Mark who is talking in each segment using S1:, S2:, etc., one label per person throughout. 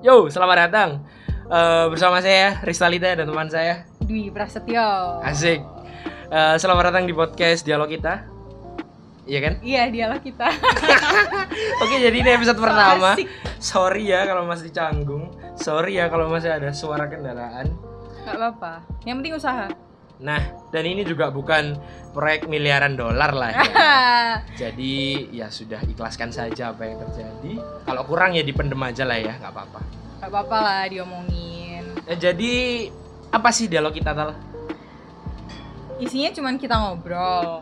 S1: Yo, selamat datang Eh, bersama saya Ristalita dan teman saya
S2: Dwi Prasetyo.
S1: Asik. Eh, selamat datang di podcast dialog kita, iya kan?
S2: Iya, dialog kita.
S1: Oke, jadi ini episode pertama.
S2: Asik.
S1: Sorry ya kalau masih canggung, sorry ya kalau masih ada suara kendaraan.
S2: Gak apa-apa. Yang penting usaha.
S1: Nah, dan ini juga bukan proyek miliaran dolar lah. ya. Jadi ya sudah ikhlaskan saja apa yang terjadi. Kalau kurang ya dipendem aja lah ya, nggak apa-apa.
S2: Gak apa-apa lah diomongin.
S1: Eh, jadi apa sih dialog kita tal?
S2: Isinya cuman kita ngobrol,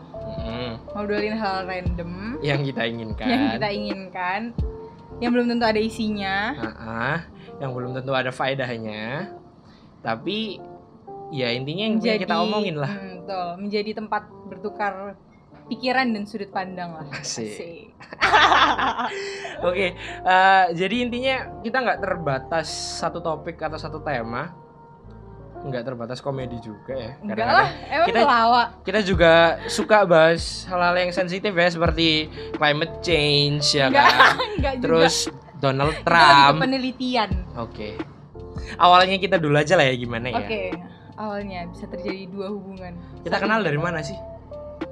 S2: ngobrolin hal random
S1: Yang kita inginkan.
S2: yang kita inginkan, yang belum tentu ada isinya.
S1: Ah, yang belum tentu ada faedahnya. Tapi ya intinya yang punya kita omongin lah.
S2: Hmm, betul. menjadi tempat bertukar pikiran dan sudut pandang lah.
S1: Asik.
S2: Asik.
S1: Oke, eh, jadi intinya kita nggak terbatas satu topik atau satu tema. Nggak terbatas komedi juga ya.
S2: Enggak
S1: kadang-kadang.
S2: lah, emang
S1: kita-
S2: pelawak.
S1: Kita juga suka bahas hal-hal yang sensitif ya seperti climate change ya
S2: Enggak,
S1: kan.
S2: enggak juga.
S1: Terus Donald
S2: Kita lebih ke
S1: Trump.
S2: penelitian.
S1: Oke. Awalnya kita dulu aja lah ya gimana ya.
S2: Oke, awalnya bisa terjadi dua hubungan.
S1: Kita kenal dari mana sih?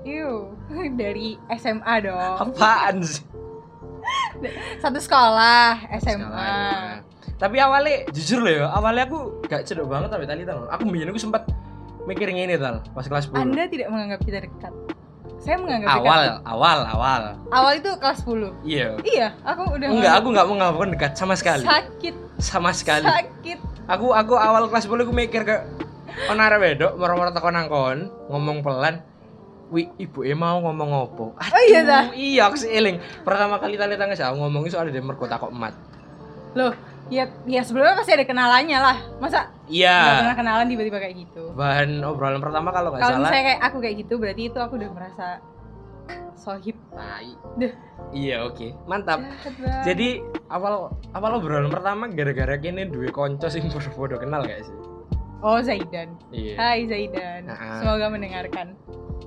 S2: Iu, dari SMA dong.
S1: Apaan sih?
S2: Satu sekolah SMA.
S1: Sekarang. iya. Tapi awalnya jujur loh ya, awalnya aku gak cedok banget tapi tadi tau. Aku mbiyen aku sempat mikir ngene tal pas kelas 10.
S2: Anda tidak menganggap kita dekat. Saya menganggap
S1: awal,
S2: dekat.
S1: awal, awal.
S2: Awal itu kelas 10.
S1: Iya.
S2: Iya, aku udah
S1: Enggak, aku nggak mengakukan dekat sama sekali.
S2: Sakit,
S1: Sama sekali.
S2: sakit.
S1: Aku aku awal kelas 10 aku mikir kayak ono arek wedok moro-moro teko nang kon, ngomong pelan. Wi, ibu mau ngomong opo?
S2: Oh iya dah.
S1: Iya, aku seiling. Pertama kali tali tangan saya ngomongin soal dia merkota kok emat.
S2: Loh, ya ya sebelumnya pasti ada kenalannya lah. Masa nggak
S1: Iya.
S2: pernah kenalan tiba-tiba kayak gitu.
S1: Bahan obrolan pertama kalau nggak
S2: Kalau
S1: salah
S2: misalnya kayak aku kayak gitu, berarti itu aku udah merasa sohib.
S1: Tai.
S2: Duh.
S1: Iya oke, mantap.
S2: Jahat banget.
S1: Jadi awal awal obrolan pertama gara-gara kini duwe konco sing bodoh kenal gak sih?
S2: Oh, Zaidan.
S1: Iya.
S2: Hai Zaidan.
S1: Nah.
S2: Semoga mendengarkan.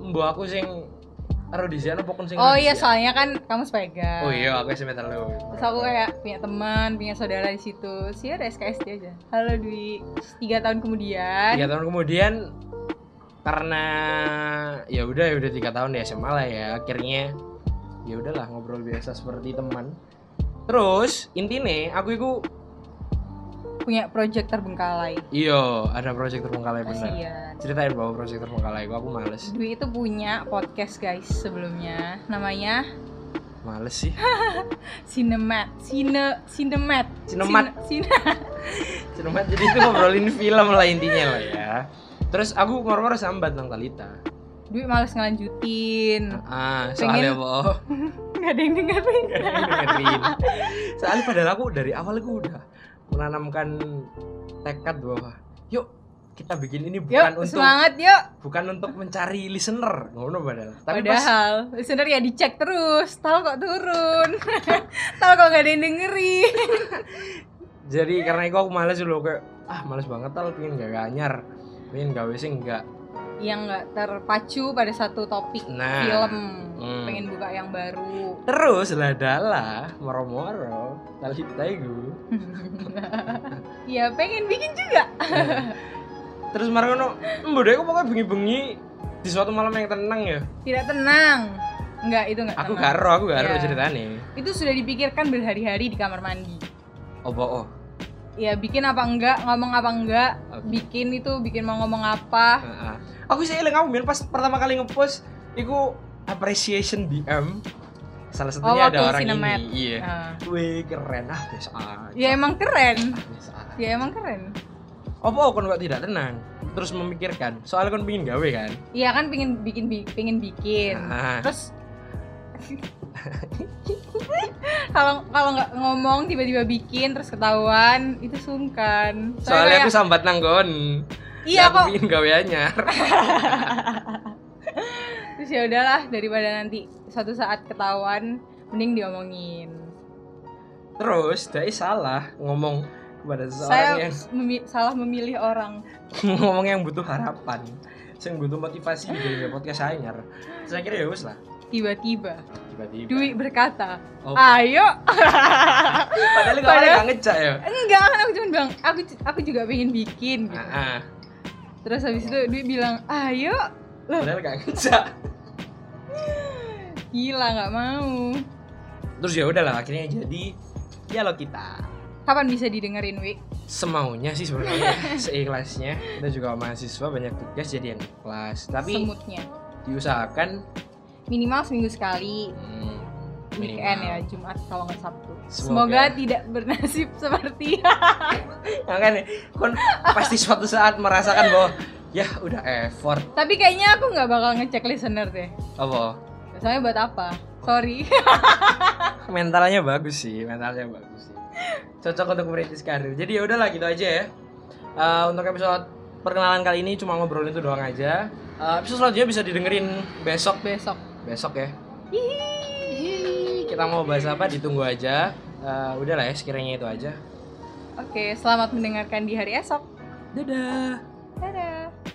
S1: Mbok aku sing Rodisian apa kon sing
S2: Oh iya,
S1: Rhodesian?
S2: soalnya kan kamu sepegan.
S1: Oh iya, aku SMA terlalu.
S2: Terus aku kan. kayak punya teman, punya saudara di situ. Sih ada SKSD aja. Halo Dwi. Tiga tahun kemudian.
S1: tiga tahun kemudian karena ya udah ya udah tiga tahun di SMA lah ya akhirnya ya udahlah ngobrol biasa seperti teman terus intine aku itu
S2: Punya
S1: Iya,
S2: project terbengkalai.
S1: iyo ada proyek terbengkalai bener
S2: Kasian.
S1: ceritain bahwa proyek terbengkalai aku aku males
S2: Dwi itu punya podcast guys sebelumnya. Namanya
S1: males sih
S2: Cinemat. Cine Cinemat.
S1: Cinemat.
S2: Cine,
S1: cuma jadi itu ngobrolin film lah intinya lah ya terus aku ngor-ngor sambat nang Talita
S2: Dwi males ngelanjutin.
S1: ah soalnya
S2: Pengen-
S1: apa
S2: Nggak ada yang dengerin.
S1: dengerin. Soalnya padahal aku dari awal aku udah menanamkan tekad bahwa yuk kita bikin ini bukan
S2: Yuk,
S1: untuk
S2: semangat yuk.
S1: bukan untuk mencari listener, ngono padahal. Tapi pas
S2: Padahal listener ya dicek terus. Tahu kok turun. Tahu kok nggak ada yang dengerin.
S1: jadi karena itu aku males dulu kayak ah males banget tal pengen gak ganyar pengen gawe sih enggak
S2: yang nggak terpacu pada satu topik
S1: nah
S2: film
S1: hmm.
S2: pengen buka yang baru
S1: terus lah dalah moro-moro tali taigu
S2: ya pengen bikin juga
S1: terus marono mbak aku pokoknya bengi-bengi di suatu malam yang tenang ya
S2: tidak tenang nggak itu nggak
S1: aku
S2: tenang.
S1: garo aku garo
S2: Ya.
S1: ceritanya
S2: itu sudah dipikirkan berhari-hari di kamar mandi
S1: opo oh
S2: ya bikin apa enggak ngomong apa enggak
S1: Oke.
S2: bikin itu bikin mau ngomong apa
S1: Heeh. Aku sih eling aku Mil, pas pertama kali ngepost iku appreciation DM. Salah
S2: Oh,
S1: satunya
S2: waktu
S1: ada orang
S2: Cinemat.
S1: ini. Iya.
S2: Nah,
S1: Wih, keren ah biasa aja.
S2: ya emang keren
S1: Biasa aja.
S2: ya emang keren
S1: Apa oh, kon kok tidak tenang? Terus memikirkan, soalnya kon pingin gawe kan?
S2: iya kan pengen bikin bi- pengen bikin
S1: Nah,
S2: terus kalau kalau nggak ngomong tiba-tiba bikin terus ketahuan itu sungkan Soalnya
S1: soalnya aku
S2: kayak,
S1: sambat nang kon.
S2: iya
S1: aku
S2: kok
S1: pingin gawe anyar.
S2: terus ya udahlah daripada nanti suatu saat ketahuan mending diomongin
S1: Terus dia salah ngomong kepada seseorang
S2: saya
S1: yang
S2: memi- salah memilih orang
S1: gitu ngomong yang butuh harapan, yang butuh motivasi di podcast anyar. Saya kira ya wis lah.
S2: tiba-tiba
S1: tiba-tiba
S2: Dwi berkata,
S1: Oh.
S2: ayo.
S1: padahal kemarin
S2: Ah. padahal-
S1: nggak ngecak ya
S2: Enggak, kan aku cuma bilang, aku aku juga pengen bikin. Gitu.
S1: Ah, ah.
S2: Terus habis itu Dwi bilang, ayo.
S1: padahal nggak ngecak
S2: Gila, nggak mau.
S1: terus ya udahlah akhirnya jadi dialog kita
S2: Kapan bisa didengerin, Wi?
S1: semaunya sih sebenarnya seikhlasnya kita juga mahasiswa banyak tugas jadi yang ikhlas tapi
S2: Semutnya.
S1: diusahakan
S2: Minimal seminggu sekali.
S1: hmm,
S2: Weekend ya,
S1: minimal.
S2: Jumat kalau nggak Sabtu.
S1: Semoga.
S2: Semoga, tidak bernasib seperti
S1: makanya kon pasti suatu saat merasakan bahwa ya udah effort
S2: Tapi kayaknya aku nggak bakal ngecek listener deh.
S1: apa
S2: Soalnya buat apa? Sorry.
S1: mentalnya bagus sih mentalnya bagus sih cocok untuk merintis karir jadi ya udahlah gitu aja ya Eh, untuk episode perkenalan kali ini cuma ngobrolin itu doang aja Eh, episode selanjutnya bisa didengerin besok
S2: Besok.
S1: besok ya Hihi, kita mau bahas apa ditunggu aja Eh, udahlah ya sekiranya itu aja
S2: Oke, selamat mendengarkan di hari esok.
S1: dadah
S2: Dadah.